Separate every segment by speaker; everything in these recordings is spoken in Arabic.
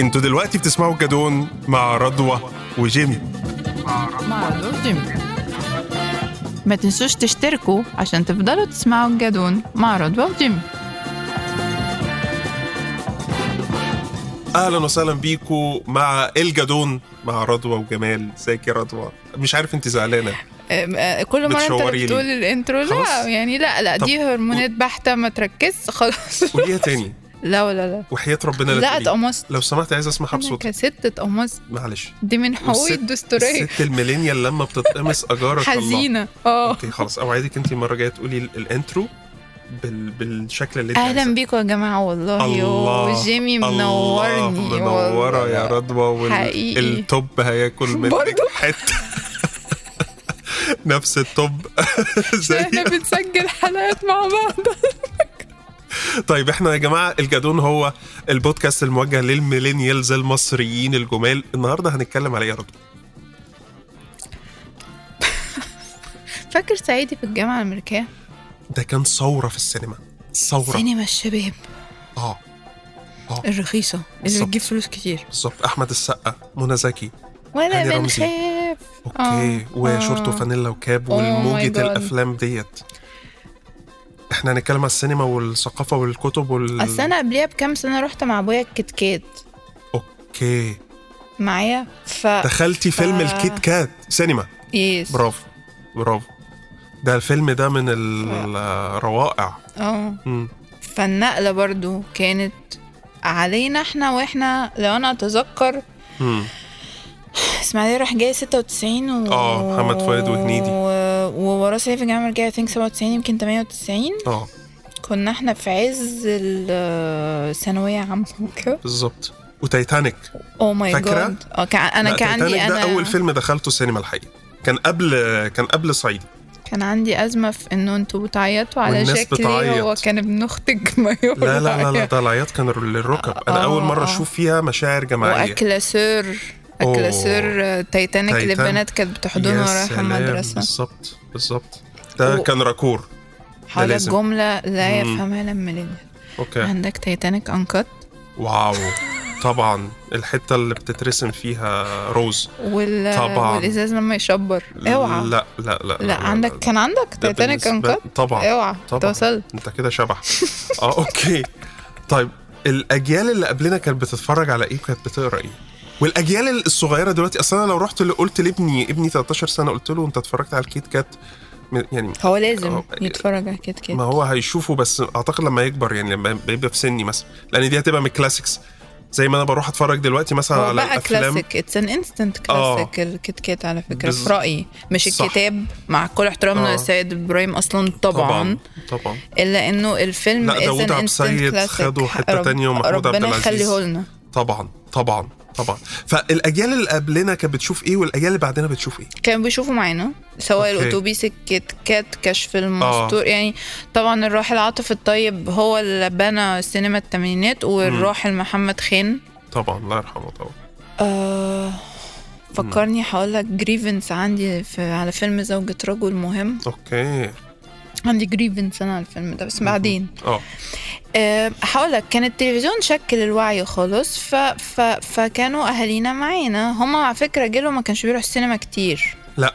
Speaker 1: انتوا دلوقتي بتسمعوا الجدون مع رضوى وجيمي
Speaker 2: مع جيمي ما تنسوش تشتركوا عشان تفضلوا تسمعوا الجدون مع رضوى وجيمي
Speaker 1: اهلا وسهلا بيكوا مع الجدون مع رضوى وجمال ازيك يا رضوى مش عارف انت زعلانه
Speaker 2: أم- آه، كل مره انت
Speaker 1: بتشوري لي.
Speaker 2: بتقول الانترو لا
Speaker 1: خلاص.
Speaker 2: يعني لا لا
Speaker 1: طب
Speaker 2: دي هرمونات بحته ما تركزش خلاص
Speaker 1: قوليها تاني
Speaker 2: لا ولا لا
Speaker 1: وحياه ربنا
Speaker 2: لا
Speaker 1: لا تقولي.
Speaker 2: اتقمصت
Speaker 1: لو سمحت عايز اسمعها
Speaker 2: انا
Speaker 1: بصوتك
Speaker 2: كست اتقمصت
Speaker 1: معلش
Speaker 2: دي من حقوقي
Speaker 1: والست-
Speaker 2: الدستوريه
Speaker 1: الست الميلينيال لما بتتقمص اجارك الله.
Speaker 2: حزينه اه
Speaker 1: اوكي خلاص اوعدك انت المره الجايه تقولي ال- الانترو بال... بالشكل اللي انت
Speaker 2: اهلا
Speaker 1: عايزاه.
Speaker 2: بيكم يا جماعه والله
Speaker 1: الله
Speaker 2: أيوه، وجيمي منورني
Speaker 1: الله منوره يا
Speaker 2: والله.
Speaker 1: رضوى
Speaker 2: حقيقي.
Speaker 1: والتوب هياكل منك
Speaker 2: برضو؟
Speaker 1: حته نفس التوب زي
Speaker 2: احنا بنسجل حلقات مع بعض
Speaker 1: طيب احنا يا جماعه الجدون هو البودكاست الموجه للميلينيالز المصريين الجمال النهارده هنتكلم على ايه يا رضوى
Speaker 2: فاكر صعيدي في الجامعه الامريكيه
Speaker 1: ده كان ثوره في السينما ثوره
Speaker 2: سينما الشباب
Speaker 1: اه
Speaker 2: الرخيصه اللي
Speaker 1: بالظبط.
Speaker 2: بتجيب فلوس كتير
Speaker 1: بالظبط احمد السقا منى زكي
Speaker 2: ولا
Speaker 1: هاني رمزي.
Speaker 2: بنخاف
Speaker 1: اوكي
Speaker 2: آه،
Speaker 1: وشورت
Speaker 2: آه.
Speaker 1: وفانيلا وكاب
Speaker 2: Oh my God.
Speaker 1: والموجة الافلام ديت احنا هنتكلم على السينما والثقافه والكتب وال
Speaker 2: اصل انا قبليها بكام سنه رحت مع ابويا الكتكات
Speaker 1: اوكي
Speaker 2: معايا ف
Speaker 1: دخلتي فيلم
Speaker 2: آه.
Speaker 1: الكيت كات سينما
Speaker 2: يس
Speaker 1: برافو برافو ده الفيلم ده من
Speaker 2: آه.
Speaker 1: الروائع
Speaker 2: اه
Speaker 1: مم.
Speaker 2: فالنقله برضو كانت علينا احنا واحنا لو انا اتذكر
Speaker 1: مم.
Speaker 2: اسماعيليه راح جاي 96 و...
Speaker 1: آه، محمد فؤاد وهنيدي.
Speaker 2: و... ووراه صعيدي في الجامعه الامريكيه ثينك 97 يمكن 98
Speaker 1: اه
Speaker 2: كنا احنا في عز ال- الثانويه عامه وكده
Speaker 1: بالظبط وتايتانيك
Speaker 2: او ماي
Speaker 1: فاكرة؟
Speaker 2: جاد اه كان انا
Speaker 1: لا،
Speaker 2: كان عندي
Speaker 1: تايتانيك
Speaker 2: انا
Speaker 1: ده اول فيلم دخلته سينما الحقيقه كان قبل كان قبل صعيدي
Speaker 2: كان عندي ازمه في انه انتوا بتعيطوا على
Speaker 1: والناس
Speaker 2: شكلي هو
Speaker 1: بتعيط.
Speaker 2: كان ابن اختك ما يقول
Speaker 1: لا لا لا لا ده العياط كان للركب انا
Speaker 2: آه،
Speaker 1: اول مره
Speaker 2: آه.
Speaker 1: اشوف فيها مشاعر جماعيه
Speaker 2: واكلاسير
Speaker 1: أوه.
Speaker 2: اكلاسير تايتانيك
Speaker 1: تايتان.
Speaker 2: للبنات كانت بتحضن
Speaker 1: يا
Speaker 2: ورايحه
Speaker 1: سلام،
Speaker 2: المدرسه
Speaker 1: بالظبط بالظبط ده
Speaker 2: و-
Speaker 1: كان راكور
Speaker 2: حول
Speaker 1: لازم.
Speaker 2: الجمله لا
Speaker 1: مم.
Speaker 2: يفهمها لما لنا
Speaker 1: اوكي
Speaker 2: عندك تايتانيك انكت
Speaker 1: واو طبعا الحته اللي بتترسم فيها روز
Speaker 2: وال...
Speaker 1: طبعا.
Speaker 2: والازاز لما يشبر اوعى
Speaker 1: لا لا لا لا,
Speaker 2: لا عندك كان عندك
Speaker 1: ده
Speaker 2: تايتانيك
Speaker 1: بالنسبة- آه،
Speaker 2: انكت
Speaker 1: طبعا
Speaker 2: اوعى
Speaker 1: طبعا.
Speaker 2: توصل
Speaker 1: انت كده شبح اه اوكي طيب الاجيال اللي قبلنا كانت بتتفرج على ايه وكانت بتقرا ايه والاجيال الصغيره دلوقتي اصلا لو رحت اللي قلت لابني ابني 13 سنه قلت له انت اتفرجت على الكيت كات من- يعني
Speaker 2: هو لازم
Speaker 1: أو-
Speaker 2: يتفرج على كده كده
Speaker 1: ما هو هيشوفه بس اعتقد لما يكبر يعني لما يبقى في سني مثلا لان دي هتبقى من الكلاسيكس زي ما انا بروح اتفرج دلوقتي مثلا
Speaker 2: هو
Speaker 1: على
Speaker 2: بقى
Speaker 1: الافلام
Speaker 2: كلاسيك اتس ان انستنت
Speaker 1: آه.
Speaker 2: كلاسيك الكيت كات على فكره
Speaker 1: بز-
Speaker 2: في رايي مش
Speaker 1: صح.
Speaker 2: الكتاب مع كل احترامنا
Speaker 1: آه.
Speaker 2: لسيد ابراهيم اصلا طبعا, طبعا.
Speaker 1: طبعا
Speaker 2: الا انه الفيلم
Speaker 1: لا، داوود عبد السيد خدوا حتة تانية ومحمود عبد
Speaker 2: ربنا
Speaker 1: العزيز.
Speaker 2: يخليه لنا
Speaker 1: طبعا طبعا طبعا فالاجيال اللي قبلنا كانت بتشوف ايه والاجيال اللي بعدنا بتشوف ايه
Speaker 2: كانوا بيشوفوا معانا سواء
Speaker 1: أوكي. آه.
Speaker 2: الاتوبيس الكيت كات كشف المستور يعني طبعا الراحل عاطف الطيب هو اللي بنى سينما الثمانينات والراحل محمد خان
Speaker 1: طبعا الله يرحمه طبعا
Speaker 2: آه فكرني هقول لك جريفنس عندي في على فيلم زوجة رجل مهم
Speaker 1: اوكي
Speaker 2: عندي جريفنس انا على الفيلم ده بس بعدين
Speaker 1: اه
Speaker 2: آه، هقولك كان التلفزيون شكل الوعي خالص ف... ف... فكانوا اهالينا معانا هما على فكره جيله ما كانش بيروح السينما كتير
Speaker 1: لا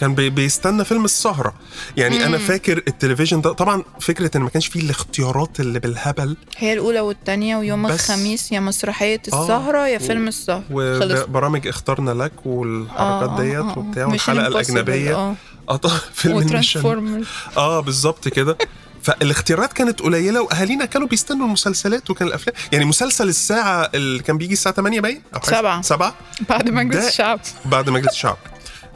Speaker 1: كان بي- بيستنى فيلم السهرة يعني أنا فاكر التلفزيون ده طبعا فكرة إن ما كانش فيه الاختيارات اللي بالهبل
Speaker 2: هي الاولى والتانية ويوم
Speaker 1: بس-
Speaker 2: الخميس يا مسرحيه
Speaker 1: آه،
Speaker 2: السهره يا
Speaker 1: و-
Speaker 2: فيلم السهر خلص
Speaker 1: وبرامج اختارنا لك والحركات
Speaker 2: آه، آه،
Speaker 1: ديت
Speaker 2: آه، آه.
Speaker 1: وبتاع
Speaker 2: Mission
Speaker 1: والحلقة
Speaker 2: Impossible،
Speaker 1: الأجنبية
Speaker 2: اه
Speaker 1: اه طبعاً، فيلم المشن
Speaker 2: وترانسفورمر
Speaker 1: اه بالظبط كده فالاختيارات كانت قليله واهالينا كانوا بيستنوا المسلسلات وكان الافلام يعني مسلسل الساعه اللي كان بيجي الساعه 8 باين او حاجة-
Speaker 2: سبعة.
Speaker 1: سبعة
Speaker 2: بعد مجلس
Speaker 1: ده-
Speaker 2: الشعب
Speaker 1: بعد مجلس الشعب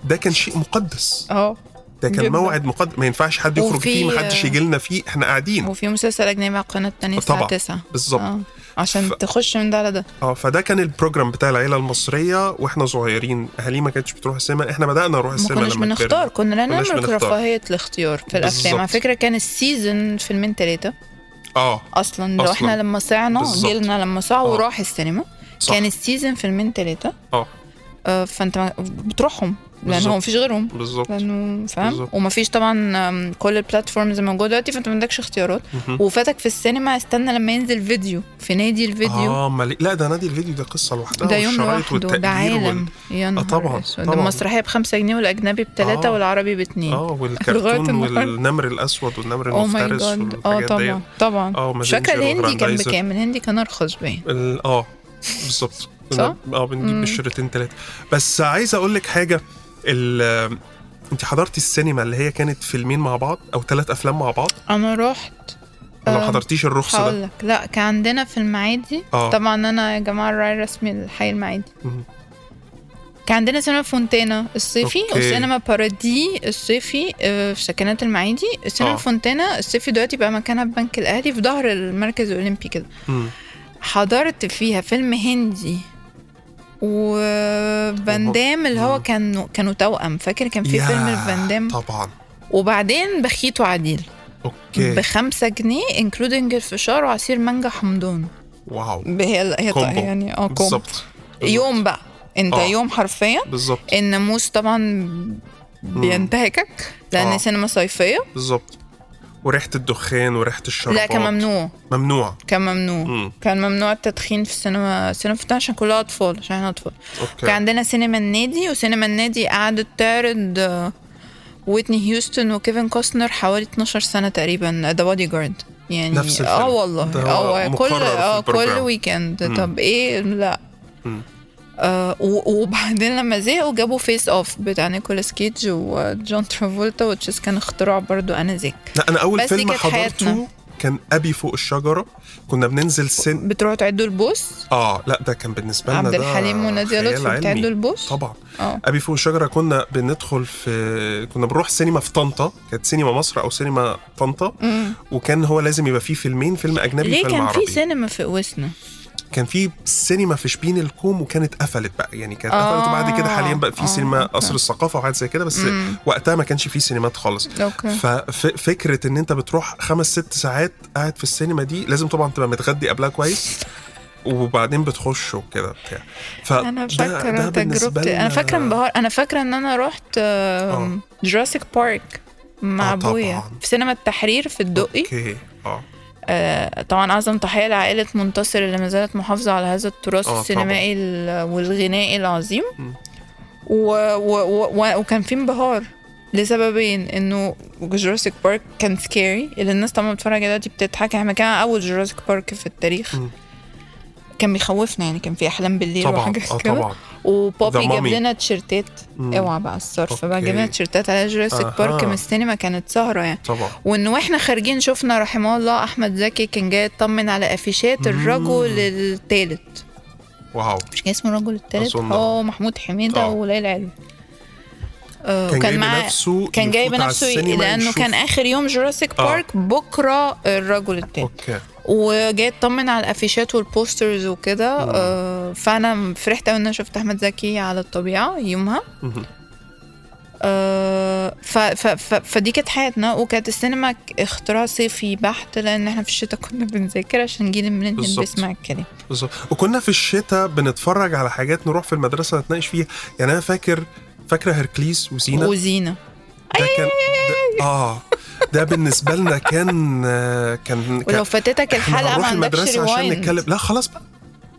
Speaker 1: ده كان شيء مقدس
Speaker 2: اه
Speaker 1: ده كان
Speaker 2: جداً.
Speaker 1: موعد مقدس ما ينفعش حد يخرج
Speaker 2: وفي-
Speaker 1: فيه ما حدش يجي لنا فيه احنا قاعدين
Speaker 2: وفي مسلسل اجنبي على القناه التانية الساعه
Speaker 1: طبعا
Speaker 2: 9
Speaker 1: بالظبط
Speaker 2: اه عشان
Speaker 1: ف-
Speaker 2: تخش من ده على ده
Speaker 1: اه فده كان البروجرام بتاع العيله المصريه واحنا صغيرين اهالي ما كانتش بتروح السينما احنا بدانا نروح
Speaker 2: ما
Speaker 1: السينما
Speaker 2: كناش
Speaker 1: لما
Speaker 2: بنختار
Speaker 1: كبرنا
Speaker 2: كنا لا
Speaker 1: كناش
Speaker 2: نملك
Speaker 1: بنختار.
Speaker 2: رفاهيه الاختيار في الافلام
Speaker 1: بالظبط.
Speaker 2: على فكره كان السيزون فيلمين ثلاثه
Speaker 1: اه
Speaker 2: اصلا لو
Speaker 1: أصلاً.
Speaker 2: احنا لما صعنا
Speaker 1: بالظبط.
Speaker 2: جيلنا لما صاع
Speaker 1: آه.
Speaker 2: وراح السينما
Speaker 1: صح
Speaker 2: كان السيزون فيلمين ثلاثه
Speaker 1: اه
Speaker 2: آه، فانت ما- آه، بتروحهم لان هو
Speaker 1: بالظبط.
Speaker 2: مفيش غيرهم
Speaker 1: بالظبط
Speaker 2: لانه فاهم
Speaker 1: بالظبط.
Speaker 2: ومفيش طبعا آم، كل البلاتفورمز موجوده دلوقتي فانت ما عندكش اختيارات
Speaker 1: مهم.
Speaker 2: وفاتك في السينما استنى لما ينزل فيديو في نادي الفيديو
Speaker 1: اه مالي... لا ده نادي الفيديو ده قصه لوحدها
Speaker 2: ده يوم
Speaker 1: والشرايط
Speaker 2: لوحده ده
Speaker 1: والتقدير آه،
Speaker 2: عالم يا نهار
Speaker 1: طبعاً،
Speaker 2: أسود. ده
Speaker 1: طبعاً.
Speaker 2: المسرحيه بخمسة جنيه والاجنبي بتلاتة
Speaker 1: آه.
Speaker 2: والعربي
Speaker 1: وال...
Speaker 2: باتنين
Speaker 1: اه
Speaker 2: لغاية
Speaker 1: والكرتون
Speaker 2: النهاردة. Oh
Speaker 1: والنمر الاسود والنمر
Speaker 2: او ماي
Speaker 1: المفترس
Speaker 2: جاد اه
Speaker 1: والحاجات دي
Speaker 2: طبعا طبعا
Speaker 1: اه
Speaker 2: مش فاكره
Speaker 1: مازنجر
Speaker 2: الهندي كان
Speaker 1: وغراندايزر.
Speaker 2: بكام الهندي كان ارخص باين
Speaker 1: ال- اه بالظبط
Speaker 2: صح؟
Speaker 1: اه بنجيب
Speaker 2: مم.
Speaker 1: بالشريطين ثلاثه بس عايز اقول لك حاجه ال انت حضرتي السينما اللي هي كانت فيلمين مع بعض او ثلاث افلام مع بعض
Speaker 2: انا رحت
Speaker 1: ولا ما
Speaker 2: آه،
Speaker 1: حضرتيش الرخص ده
Speaker 2: هقول لك لا كان عندنا في المعادي
Speaker 1: آه.
Speaker 2: طبعا انا يا جماعه الراعي الرسمي للحي المعادي
Speaker 1: مم.
Speaker 2: كان عندنا سينما فونتانا الصيفي
Speaker 1: أوكي.
Speaker 2: وسينما بارادي الصيفي آه، في سكنات المعادي السينما
Speaker 1: آه.
Speaker 2: فونتانا الصيفي دلوقتي بقى مكانها بنك الاهلي في ظهر المركز الاولمبي كده
Speaker 1: مم.
Speaker 2: حضرت فيها فيلم هندي وفاندام اللي هو
Speaker 1: مم.
Speaker 2: كانوا كانوا توأم فاكر كان في
Speaker 1: يا،
Speaker 2: فيلم الفاندام
Speaker 1: طبعا
Speaker 2: وبعدين بخيت وعديل
Speaker 1: اوكي
Speaker 2: بخمسة جنيه انكلودنج الفشار وعصير مانجا حمضان
Speaker 1: واو
Speaker 2: ب- هي هي
Speaker 1: كومبو.
Speaker 2: يعني اه كوم
Speaker 1: بالظبط
Speaker 2: يوم بقى انت
Speaker 1: آه.
Speaker 2: يوم حرفيا
Speaker 1: بالظبط
Speaker 2: الناموس طبعا بينتهكك لان
Speaker 1: آه.
Speaker 2: آه. سينما صيفيه
Speaker 1: بالظبط وريحه الدخان وريحه الشرابات
Speaker 2: لا كان ممنوع
Speaker 1: ممنوع
Speaker 2: كان ممنوع
Speaker 1: مم.
Speaker 2: كان ممنوع التدخين في السينما السينما فتح عشان كلها اطفال عشان احنا اطفال
Speaker 1: اوكي
Speaker 2: كان عندنا سينما النادي وسينما النادي قعدت تعرض آه، ويتني هيوستن وكيفن كوستنر حوالي 12 سنه تقريبا ذا بودي جارد يعني
Speaker 1: نفس الفيلم.
Speaker 2: اه والله
Speaker 1: ده
Speaker 2: اه كل
Speaker 1: مقرر في
Speaker 2: اه كل
Speaker 1: البروجرام.
Speaker 2: ويكند
Speaker 1: مم.
Speaker 2: طب ايه لا
Speaker 1: مم.
Speaker 2: آه و- وبعدين لما زهقوا جابوا فيس اوف بتاع نيكولاس كيدج وجون ترافولتا وتشيز كان اختراع برضو انا ذاك
Speaker 1: لا انا اول
Speaker 2: بس
Speaker 1: فيلم
Speaker 2: كانت حياتنا.
Speaker 1: حضرته كان ابي فوق الشجره كنا بننزل سن
Speaker 2: بتروحوا تعدوا البوس
Speaker 1: اه لا ده كان بالنسبه لنا ده
Speaker 2: عبد الحليم ونادية
Speaker 1: خيال
Speaker 2: لطفي
Speaker 1: علمي.
Speaker 2: بتعدوا البوس
Speaker 1: طبعا
Speaker 2: اه
Speaker 1: ابي فوق الشجره كنا بندخل في كنا بنروح سينما في طنطا كانت سينما مصر او سينما طنطا
Speaker 2: مم.
Speaker 1: وكان هو لازم يبقى فيه فيلمين فيلم اجنبي
Speaker 2: ليه
Speaker 1: وفيلم
Speaker 2: كان
Speaker 1: عربي
Speaker 2: في سينما في قوسنا
Speaker 1: كان في سينما في شبين الكوم وكانت قفلت بقى يعني كانت
Speaker 2: آه.
Speaker 1: قفلت وبعد كده حاليا بقى في
Speaker 2: آه،
Speaker 1: سينما
Speaker 2: أوكي.
Speaker 1: قصر الثقافه وحاجات زي كده بس
Speaker 2: مم.
Speaker 1: وقتها ما كانش في سينمات خالص
Speaker 2: اوكي
Speaker 1: ففكره ان انت بتروح خمس ست ساعات قاعد في السينما دي لازم طبعا تبقى متغدي قبلها كويس وبعدين بتخش وكده بتاع فده
Speaker 2: انا
Speaker 1: آه، ده
Speaker 2: فاكره
Speaker 1: بالنسبة
Speaker 2: تجربتي انا
Speaker 1: لنا-
Speaker 2: فاكره انبهار انا فاكره ان انا رحت
Speaker 1: آه.
Speaker 2: جراسيك بارك مع
Speaker 1: آه،
Speaker 2: ابويا
Speaker 1: طبعاً.
Speaker 2: في سينما التحرير في الدقي
Speaker 1: اوكي اه
Speaker 2: آه، طبعا اعظم تحيه لعائله منتصر اللي ما زالت محافظه على هذا التراث
Speaker 1: آه، طبعاً.
Speaker 2: السينمائي ال- والغنائي العظيم
Speaker 1: مم.
Speaker 2: و... و... و... و... وكان في انبهار لسببين انه جوراسيك بارك كان سكاري اللي الناس طبعا بتتفرج عليه دلوقتي بتضحك احنا كان اول جوراسيك بارك في التاريخ
Speaker 1: مم.
Speaker 2: كان بيخوفنا يعني كان في احلام بالليل
Speaker 1: طبعا
Speaker 2: وحاجات
Speaker 1: اه
Speaker 2: كده
Speaker 1: طبعا The
Speaker 2: وبوبي
Speaker 1: Mummy.
Speaker 2: جاب لنا تيشيرتات
Speaker 1: مم.
Speaker 2: اوعى بقى الصرف بقى جاب لنا
Speaker 1: أوكي.
Speaker 2: تيشيرتات على جوراسيك
Speaker 1: أها.
Speaker 2: بارك من السينما كانت سهره يعني
Speaker 1: طبعا
Speaker 2: وان واحنا خارجين شفنا رحمه الله احمد زكي كان جاي يطمن على افيشات الرجل الثالث
Speaker 1: واو
Speaker 2: مش كان اسمه الرجل الثالث
Speaker 1: أظن.
Speaker 2: اه محمود حميده
Speaker 1: آه.
Speaker 2: وليلى علوي آه،
Speaker 1: كان جايب
Speaker 2: وكان معاه
Speaker 1: نفسه
Speaker 2: كان جايب نفسه ي- لانه كان اخر يوم جوراسيك
Speaker 1: آه.
Speaker 2: بارك بكره الرجل الثالث
Speaker 1: اوكي
Speaker 2: وجاي يطمن على الافيشات والبوسترز وكده
Speaker 1: مم.
Speaker 2: آه، فانا فرحت قوي ان انا شفت احمد زكي على الطبيعه يومها
Speaker 1: مهم.
Speaker 2: آه، ف ف ف فدي كانت حياتنا وكانت السينما ك- اختراع صيفي بحت لان احنا في الشتاء كنا بنذاكر عشان جيل الميلينيال
Speaker 1: بالظبط.
Speaker 2: بيسمع الكلام
Speaker 1: بالظبط وكنا في الشتاء بنتفرج على حاجات نروح في المدرسه نتناقش فيها يعني انا فاكر فاكره هركليس وزينه
Speaker 2: وزينة
Speaker 1: ده كان ده اه ده بالنسبه لنا كان آه، كان كان
Speaker 2: ولو فاتتك
Speaker 1: احنا
Speaker 2: الحلقة ما
Speaker 1: هنروح
Speaker 2: عندكش
Speaker 1: المدرسه عشان
Speaker 2: ريوايند
Speaker 1: نتكلم لا خلاص بقى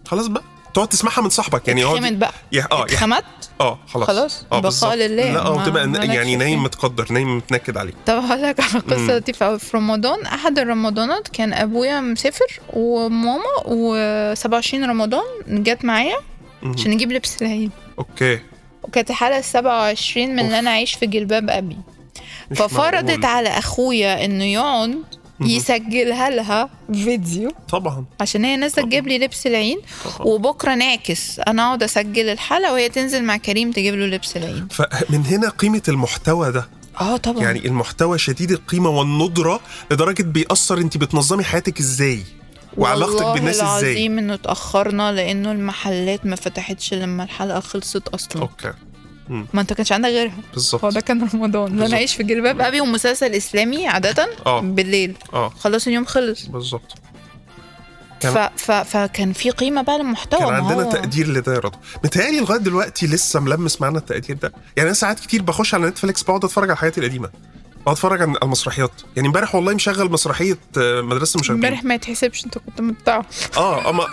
Speaker 1: خلاص بقى تقعد تسمعها من صاحبك يعني
Speaker 2: اتخمت
Speaker 1: يقعد
Speaker 2: بقى
Speaker 1: يح- اه يح-
Speaker 2: اتخمت
Speaker 1: اه خلاص
Speaker 2: خلاص،
Speaker 1: اه
Speaker 2: بقاء
Speaker 1: بالظبط.
Speaker 2: لله،
Speaker 1: لا
Speaker 2: ما-
Speaker 1: اه تبقى
Speaker 2: ما لكش
Speaker 1: يعني نايم
Speaker 2: فيه.
Speaker 1: متقدر نايم متنكد عليك
Speaker 2: طب هقول لك على
Speaker 1: مم.
Speaker 2: قصة لطيفة قوي في رمضان أحد الرمضانات كان أبويا مسافر وماما و27 رمضان جت معايا
Speaker 1: مم.
Speaker 2: عشان نجيب لبس العيد
Speaker 1: اوكي
Speaker 2: وكانت الحلقة السبعة وعشرين من اللي أنا أعيش في جلباب أبي
Speaker 1: مش
Speaker 2: ففرضت
Speaker 1: معقول.
Speaker 2: على اخويا انه يقعد
Speaker 1: مهم.
Speaker 2: يسجلها لها فيديو
Speaker 1: طبعا
Speaker 2: عشان هي نازله
Speaker 1: طبعا.
Speaker 2: تجيب لي لبس العيد
Speaker 1: طبعا
Speaker 2: وبكره نعكس انا اقعد اسجل الحلقه وهي تنزل مع كريم تجيب له لبس العيد
Speaker 1: فمن هنا قيمه المحتوى ده
Speaker 2: اه طبعا
Speaker 1: يعني المحتوى شديد القيمه والندره لدرجه بيأثر انت بتنظمي حياتك ازاي وعلاقتك
Speaker 2: والله
Speaker 1: بالناس ازاي
Speaker 2: العظيم انه اتاخرنا لانه المحلات ما فتحتش لما الحلقه خلصت اصلا
Speaker 1: اوكي
Speaker 2: ما انت كانش عندك غيرها هو
Speaker 1: بالظبط
Speaker 2: ده كان رمضان اللي
Speaker 1: بالظبط.
Speaker 2: انا عايش في جلباب ابي ومسلسل اسلامي عاده
Speaker 1: اه
Speaker 2: بالليل
Speaker 1: اه
Speaker 2: خلاص اليوم خلص
Speaker 1: بالظبط كان-
Speaker 2: ف... ف... فكان في قيمه بقى للمحتوى
Speaker 1: كان
Speaker 2: آه، ما
Speaker 1: عندنا
Speaker 2: هو...
Speaker 1: تقدير لده يا رضوى متهيألي لغايه دلوقتي لسه ملمس معانا التقدير ده يعني انا ساعات كتير بخش على نتفليكس بقعد اتفرج على الحاجات القديمه بقعد اتفرج على المسرحيات يعني امبارح والله مشغل مسرحيه آه، مدرسه المشاغبين
Speaker 2: امبارح ما يتحسبش انت كنت متبعه
Speaker 1: اه اما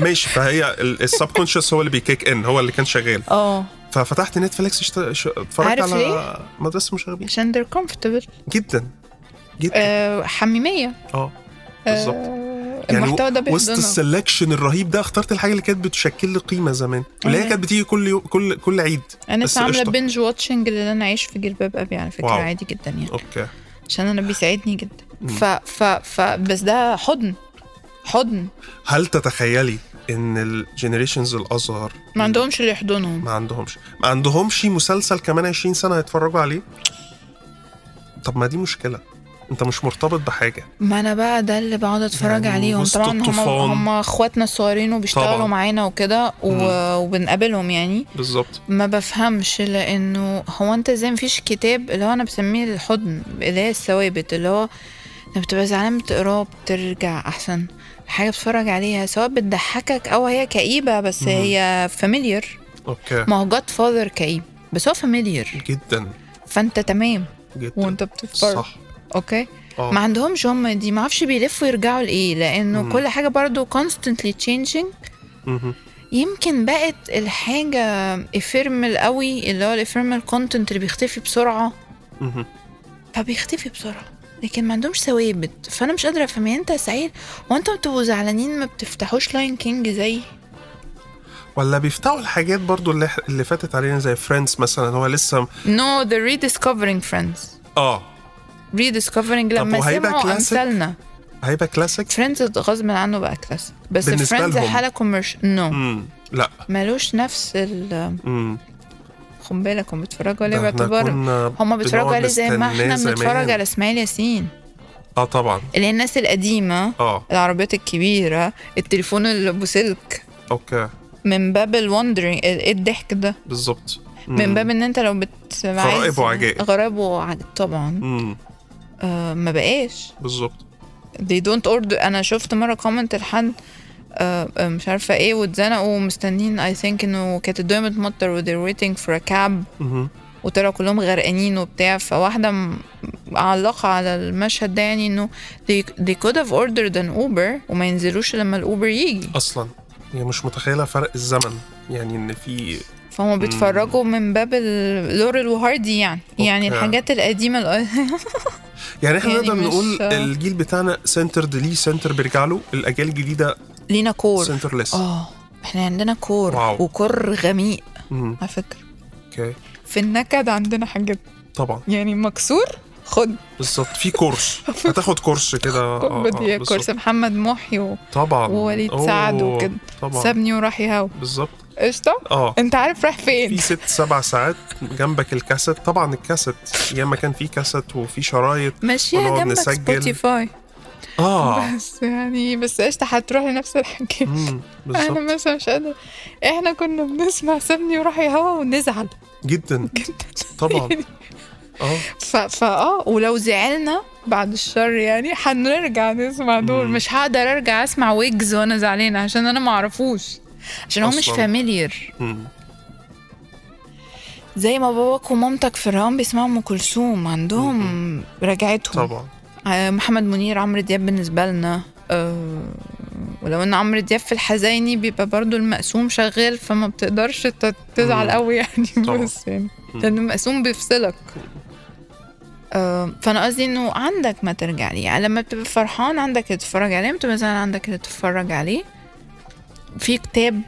Speaker 1: ماشي فهي السب كونشس هو اللي بيكيك ان هو اللي كان شغال
Speaker 2: اه
Speaker 1: ففتحت نتفليكس اشت- ش- اتفرجت
Speaker 2: عارف
Speaker 1: على
Speaker 2: ليه؟
Speaker 1: مدرسه المشاغبين
Speaker 2: عشان they're comfortable
Speaker 1: جدا جدا
Speaker 2: آه حميميه
Speaker 1: اه بالظبط.
Speaker 2: آه
Speaker 1: يعني
Speaker 2: المحتوى ده
Speaker 1: وسط
Speaker 2: بيحضنه
Speaker 1: السلكشن الرهيب ده اخترت الحاجه اللي كانت بتشكل لي قيمه زمان اللي هي
Speaker 2: أيوة.
Speaker 1: كانت بتيجي كل يو... كل كل عيد
Speaker 2: انا
Speaker 1: بس
Speaker 2: لسه عامله
Speaker 1: قشطة.
Speaker 2: بنج واتشنج للي انا عايش في جلباب ابي على فكره
Speaker 1: واو.
Speaker 2: عادي جدا يعني
Speaker 1: اوكي
Speaker 2: عشان انا بيساعدني جدا ف ف ف بس ده حضن حضن
Speaker 1: هل تتخيلي ان الجنريشنز الاصغر
Speaker 2: ما عندهمش اللي يحضنهم
Speaker 1: ما عندهمش ما عندهمش مسلسل كمان 20 سنه هيتفرجوا عليه طب ما دي مشكله انت مش مرتبط بحاجه
Speaker 2: ما انا بقى ده اللي بقعد اتفرج
Speaker 1: يعني
Speaker 2: عليهم
Speaker 1: وسط
Speaker 2: طبعا هم
Speaker 1: الطوفان.
Speaker 2: هم اخواتنا الصغيرين وبيشتغلوا
Speaker 1: طبعاً.
Speaker 2: معانا وكده و- وبنقابلهم يعني
Speaker 1: بالظبط
Speaker 2: ما بفهمش لانه هو انت ازاي مفيش كتاب اللي هو انا بسميه الحضن اللي هي الثوابت اللي هو لما بتبقى زعلان بتقراه بترجع احسن حاجه بتتفرج عليها سواء بتضحكك او هي كئيبه بس هي فاميليار
Speaker 1: اوكي
Speaker 2: ما هو جاد فاذر كئيب بس هو فاميليار
Speaker 1: جدا
Speaker 2: فانت تمام
Speaker 1: جدا
Speaker 2: وانت بتتفرج
Speaker 1: صح
Speaker 2: اوكي
Speaker 1: آه.
Speaker 2: ما عندهمش هم دي ما اعرفش بيلفوا يرجعوا لايه لانه
Speaker 1: مم.
Speaker 2: كل حاجه برضو constantly changing
Speaker 1: مهم.
Speaker 2: يمكن بقت الحاجه افيرمال قوي اللي هو الافيرمال كونتنت اللي بيختفي بسرعه
Speaker 1: مهم.
Speaker 2: فبيختفي بسرعه لكن ما عندهمش ثوابت فانا مش قادره افهم يعني انت يا سعيد هو انتوا بتبقوا زعلانين ما بتفتحوش لاين كينج زي
Speaker 1: ولا بيفتحوا الحاجات برضو اللي اللي فاتت علينا زي فريندز مثلا هو لسه
Speaker 2: نو ذا ريديسكفرينج فريندز
Speaker 1: اه
Speaker 2: ريديسكفرينج لما
Speaker 1: وهيبقى
Speaker 2: سمعوا
Speaker 1: classic؟
Speaker 2: امثالنا
Speaker 1: هيبقى كلاسيك
Speaker 2: فريندز غصب عنه بقى كلاسيك بس
Speaker 1: بالنسبة
Speaker 2: فريندز
Speaker 1: لهم.
Speaker 2: حاله كوميرشال نو
Speaker 1: امم لا
Speaker 2: ملوش نفس ال
Speaker 1: امم
Speaker 2: خد بالك هم بيتفرجوا عليه
Speaker 1: ده احنا
Speaker 2: باعتبار
Speaker 1: كنا
Speaker 2: هم بيتفرجوا
Speaker 1: بنقعد
Speaker 2: عليه زي ما
Speaker 1: نستناه
Speaker 2: احنا
Speaker 1: زمان.
Speaker 2: بنتفرج على اسماعيل ياسين
Speaker 1: اه طبعا
Speaker 2: اللي هي الناس القديمه
Speaker 1: اه
Speaker 2: العربيات الكبيره التليفون اللي ابو سلك
Speaker 1: اوكي
Speaker 2: من باب الوندرينج ايه الضحك ده
Speaker 1: بالظبط
Speaker 2: من باب ان انت لو بت
Speaker 1: غرائب وعجائب.
Speaker 2: غرائب وعجائب طبعا
Speaker 1: امم
Speaker 2: آه ما بقاش
Speaker 1: بالظبط
Speaker 2: they don't order انا شفت مره كومنت لحد آه، آه، مش عارفه ايه واتزنقوا ومستنين اي ثينك انه كانت الدنيا بتمطر و they're waiting for a cab
Speaker 1: مهم.
Speaker 2: وطلعوا كلهم غرقانين وبتاع فواحده م- معلقه على المشهد ده يعني انه they, they could have ordered an Uber وما ينزلوش لما الاوبر يجي
Speaker 1: اصلا هي يعني مش متخيله فرق الزمن يعني ان في
Speaker 2: فهم بيتفرجوا من باب ال- لورال وهاردي يعني يعني
Speaker 1: أوكي.
Speaker 2: الحاجات القديمه الأ-
Speaker 1: يعني احنا
Speaker 2: يعني
Speaker 1: نقدر
Speaker 2: مش-
Speaker 1: نقول الجيل بتاعنا سنترد ليه سنتر بيرجع له الاجيال الجديده
Speaker 2: لينا كور
Speaker 1: سنترلس
Speaker 2: اه احنا عندنا كور
Speaker 1: واو.
Speaker 2: وكور غميق
Speaker 1: امم
Speaker 2: على فكره
Speaker 1: اوكي
Speaker 2: في النكد عندنا حاجات
Speaker 1: طبعا
Speaker 2: يعني مكسور خد
Speaker 1: بالظبط في كورس هتاخد كورس كده آه، آه،
Speaker 2: بدي
Speaker 1: بالظبط.
Speaker 2: كورس محمد محي و-
Speaker 1: طبعا
Speaker 2: ووليد
Speaker 1: أوه،
Speaker 2: سعد وكده
Speaker 1: طبعا
Speaker 2: سابني وراح يهوى
Speaker 1: بالظبط
Speaker 2: قشطه
Speaker 1: اه
Speaker 2: انت عارف راح
Speaker 1: في
Speaker 2: فين
Speaker 1: ست سبع ساعات جنبك الكاسيت طبعا الكاسيت ياما كان في كاسيت وفي شرايط
Speaker 2: ماشية
Speaker 1: ونقعد
Speaker 2: جنبك
Speaker 1: نسجل.
Speaker 2: سبوتيفاي
Speaker 1: اه
Speaker 2: بس يعني بس قشطة هتروح لنفس الحكاية
Speaker 1: مم،
Speaker 2: انا
Speaker 1: بالظبط
Speaker 2: مثلا مش قادرة احنا كنا بنسمع سابني وراح يهوى ونزعل
Speaker 1: جدا
Speaker 2: جدا
Speaker 1: طبعا اه
Speaker 2: ف... فا اه ولو زعلنا بعد الشر يعني هنرجع نسمع دول
Speaker 1: مم.
Speaker 2: مش هقدر ارجع اسمع ويجز وانا زعلانة عشان انا معرفوش عشان هو مش
Speaker 1: أصلاً.
Speaker 2: فاميليير
Speaker 1: مم،
Speaker 2: زي ما باباك ومامتك في الرهان بيسمعوا ام كلثوم عندهم رجعتهم
Speaker 1: طبعا
Speaker 2: آه، محمد منير عمرو دياب بالنسبة لنا آه، ولو ان عمرو دياب في الحزيني بيبقى برضو المقسوم شغال فما بتقدرش ت- تزعل
Speaker 1: مم.
Speaker 2: قوي يعني
Speaker 1: طبعا.
Speaker 2: بس يعني
Speaker 1: مم.
Speaker 2: لان المقسوم بيفصلك آه، فانا قصدي انه عندك ما ترجع ليه يعني لما بتبقى فرحان عندك اللي تتفرج عليه لما بتبقى زعلان عندك اللي تتفرج عليه في كتاب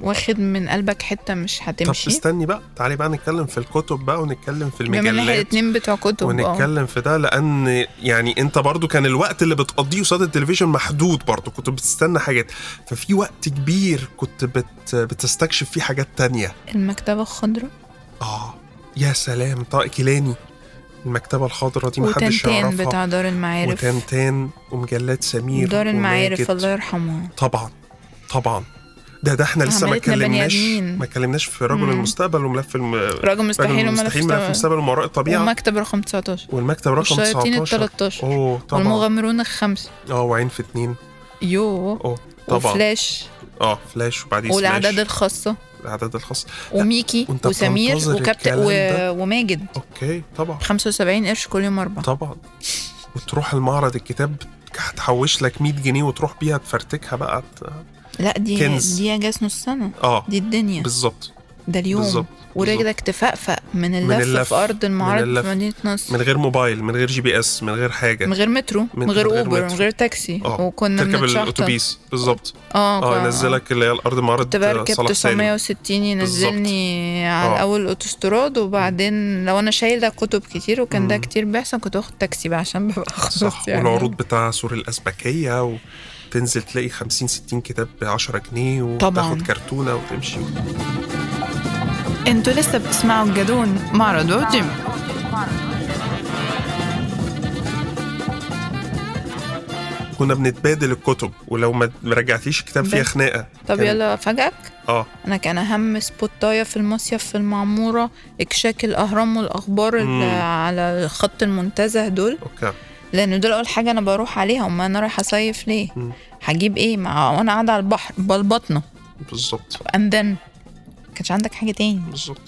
Speaker 2: واخد من قلبك حته مش
Speaker 1: طب
Speaker 2: هتمشي
Speaker 1: استني بقى تعالي بقى نتكلم في الكتب بقى ونتكلم في
Speaker 2: بما ان احنا
Speaker 1: المجلات
Speaker 2: الاتنين بتوع كتب آه.
Speaker 1: ونتكلم في ده لان يعني انت برضو كان الوقت اللي بتقضيه قصاد التلفزيون محدود برضو كنت بتستنى حاجات ففي وقت كبير كنت بت بتستكشف فيه حاجات تانية
Speaker 2: المكتبه الخضراء
Speaker 1: اه يا سلام طارق كيلاني المكتبة الخضراء دي محدش
Speaker 2: وتنتان
Speaker 1: يعرفها
Speaker 2: بتاع دار المعارف
Speaker 1: وتنتان ومجلات سمير
Speaker 2: دار المعارف
Speaker 1: وماجد.
Speaker 2: الله يرحمها
Speaker 1: طبعا طبعا ده ده احنا لسه ما
Speaker 2: عملتنا بني
Speaker 1: اتكلمناش
Speaker 2: آدمين.
Speaker 1: ما اتكلمناش في رجل
Speaker 2: مم.
Speaker 1: المستقبل وملف الم... رجل
Speaker 2: راجل مستحيل وما
Speaker 1: المستحيل ملف
Speaker 2: نفس
Speaker 1: المستقبل وما وراء الطبيعة
Speaker 2: ومكتب رقم 19
Speaker 1: والمكتب رقم
Speaker 2: والشياطين ال
Speaker 1: 19
Speaker 2: 13
Speaker 1: اوه طبعا
Speaker 2: والمغامرون الخمسه
Speaker 1: اه آه، وعين في اتنين
Speaker 2: يو
Speaker 1: اه طبعا
Speaker 2: وفلاش
Speaker 1: اه فلاش وبعدين سماش.
Speaker 2: والاعداد الخاصه
Speaker 1: الاعداد الخاص
Speaker 2: وميكي
Speaker 1: وأنت
Speaker 2: وسمير
Speaker 1: بتنتظر
Speaker 2: وكابتن
Speaker 1: الكلام ده؟
Speaker 2: و... وماجد
Speaker 1: اوكي طبعا
Speaker 2: 75 قرش كل يوم اربع
Speaker 1: طبعا وتروح المعرض الكتاب هتحوش لك 100 جنيه وتروح بيها تفرتكها بقى ت-
Speaker 2: لا دي
Speaker 1: كنز.
Speaker 2: دي اجاز نص سنه
Speaker 1: اه
Speaker 2: دي الدنيا
Speaker 1: بالظبط
Speaker 2: ده اليوم
Speaker 1: بالظبط،
Speaker 2: ورجلك تفقفق من اللف,
Speaker 1: اللف،
Speaker 2: في ارض
Speaker 1: من
Speaker 2: المعارض
Speaker 1: اللف.
Speaker 2: في مدينه نصر
Speaker 1: من غير موبايل من غير جي بي اس من غير حاجه
Speaker 2: من غير مترو
Speaker 1: من
Speaker 2: من غير
Speaker 1: غير
Speaker 2: اوبر من
Speaker 1: مترو.
Speaker 2: غير تاكسي
Speaker 1: آه،
Speaker 2: وكنا
Speaker 1: تركب
Speaker 2: بنتشحطط
Speaker 1: الاتوبيس بالظبط
Speaker 2: اه
Speaker 1: اه
Speaker 2: كنا-
Speaker 1: ينزلك اللي هي الارض معرض
Speaker 2: كنت بركب
Speaker 1: صلاح سالم
Speaker 2: 960 ينزلني على
Speaker 1: آه.
Speaker 2: اول الاوتوستراد وبعدين لو انا شايله كتب كتير وكان ده كتير بيحصل كنت باخد تاكسي بقى عشان ببقى
Speaker 1: صح
Speaker 2: خلاص يعني
Speaker 1: والعروض بتاع سور الازبكيه وتنزل تلاقي 50 60 كتاب ب 10 جنيه
Speaker 2: طبعاً.
Speaker 1: وتاخد كرتونه وتمشي
Speaker 2: انتوا لسه بتسمعوا الجدون معرض وجيم
Speaker 1: كنا بنتبادل الكتب ولو ما ما رجعتيش كتاب فيها
Speaker 2: بس.
Speaker 1: خناقه
Speaker 2: طب
Speaker 1: كان-
Speaker 2: يلا فاجئك
Speaker 1: اه
Speaker 2: انا كان اهم سبوتايه في المصيف في المعموره اكشاك الاهرام والاخبار اللي
Speaker 1: مم.
Speaker 2: على الخط المنتزه دول
Speaker 1: اوكي
Speaker 2: لان دول اول حاجه انا بروح عليها امال انا رايحه اصيف ليه
Speaker 1: مم.
Speaker 2: هجيب ايه مع وانا قاعده على البحر بلبطنه
Speaker 1: بالظبط
Speaker 2: اندن كانش عندك حاجه تاني
Speaker 1: بالظبط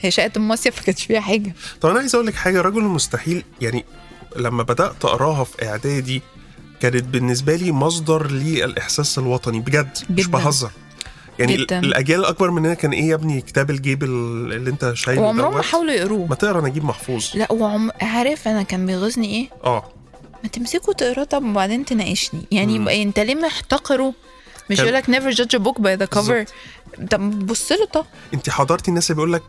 Speaker 2: هي شقه المصيف ما كانش فيها حاجه
Speaker 1: طب انا عايز اقول لك حاجه رجل المستحيل يعني لما بدات اقراها في اعدادي كانت بالنسبه لي مصدر للاحساس الوطني بجد مش
Speaker 2: جداً.
Speaker 1: بهزر يعني
Speaker 2: جداً.
Speaker 1: ال- الاجيال الاكبر مننا كان ايه يا ابني كتاب الجيب ال- اللي انت شايله
Speaker 2: وعمرهم ما
Speaker 1: دوت؟
Speaker 2: حاولوا
Speaker 1: ما
Speaker 2: يقروه
Speaker 1: تقرا نجيب محفوظ
Speaker 2: لا وعم عارف انا كان بيغيظني ايه
Speaker 1: اه
Speaker 2: ما تمسكوا تقراه طب وبعدين تناقشني يعني
Speaker 1: مم.
Speaker 2: يبقى انت ليه محتقره مش
Speaker 1: كان-
Speaker 2: يقول لك never judge a book by the cover طب بص له طب
Speaker 1: انت حضرتي الناس اللي بيقول لك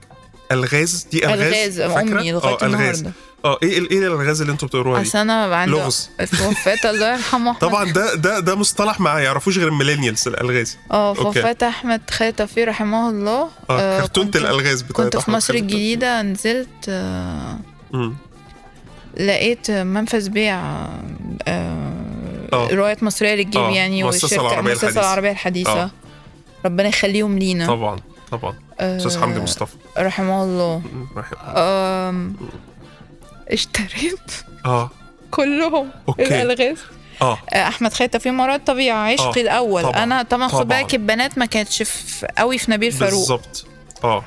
Speaker 1: الغاز دي الغاز
Speaker 2: الغاز امي لغايه
Speaker 1: اه الغاز
Speaker 2: النهارده
Speaker 1: اه ايه ال- ايه الالغاز اللي انتوا بتقروها دي
Speaker 2: اصل انا عندي
Speaker 1: طيب، لغز.
Speaker 2: في وفاه الله يرحمه أحمد-
Speaker 1: طبعا ده ده ده مصطلح ما يعرفوش غير الميلينيالز الالغاز
Speaker 2: اه في
Speaker 1: أوكي.
Speaker 2: وفاه احمد خالد توفيق رحمه الله
Speaker 1: اه
Speaker 2: آه،
Speaker 1: كرتونه
Speaker 2: كنت-
Speaker 1: الالغاز بتاعت
Speaker 2: كنت في
Speaker 1: أحمد
Speaker 2: مصر
Speaker 1: خالد توفيق.
Speaker 2: الجديده نزلت آه،
Speaker 1: مم.
Speaker 2: لقيت منفذ بيع آه،
Speaker 1: آه.
Speaker 2: روايات مصريه للجيب
Speaker 1: آه،
Speaker 2: يعني
Speaker 1: مؤسسة العربية
Speaker 2: المؤسسه
Speaker 1: الحديثة.
Speaker 2: العربيه الحديثه
Speaker 1: آه.
Speaker 2: ربنا يخليهم لينا
Speaker 1: طبعا طبعا
Speaker 2: آه،
Speaker 1: استاذ حمدي مصطفى
Speaker 2: رحمه الله
Speaker 1: مم، رحمه الله.
Speaker 2: أه. آم، اشتريت
Speaker 1: اه
Speaker 2: كلهم
Speaker 1: أوكي.
Speaker 2: الالغاز
Speaker 1: اه
Speaker 2: آه، احمد خالد توفيق مراد طبيعه عشقي
Speaker 1: آه،
Speaker 2: الاول
Speaker 1: طبعاً،
Speaker 2: انا طبعا
Speaker 1: طبعاً.
Speaker 2: خد بالك البنات ما كانتش في- قوي في نبيل فاروق
Speaker 1: بالظبط اه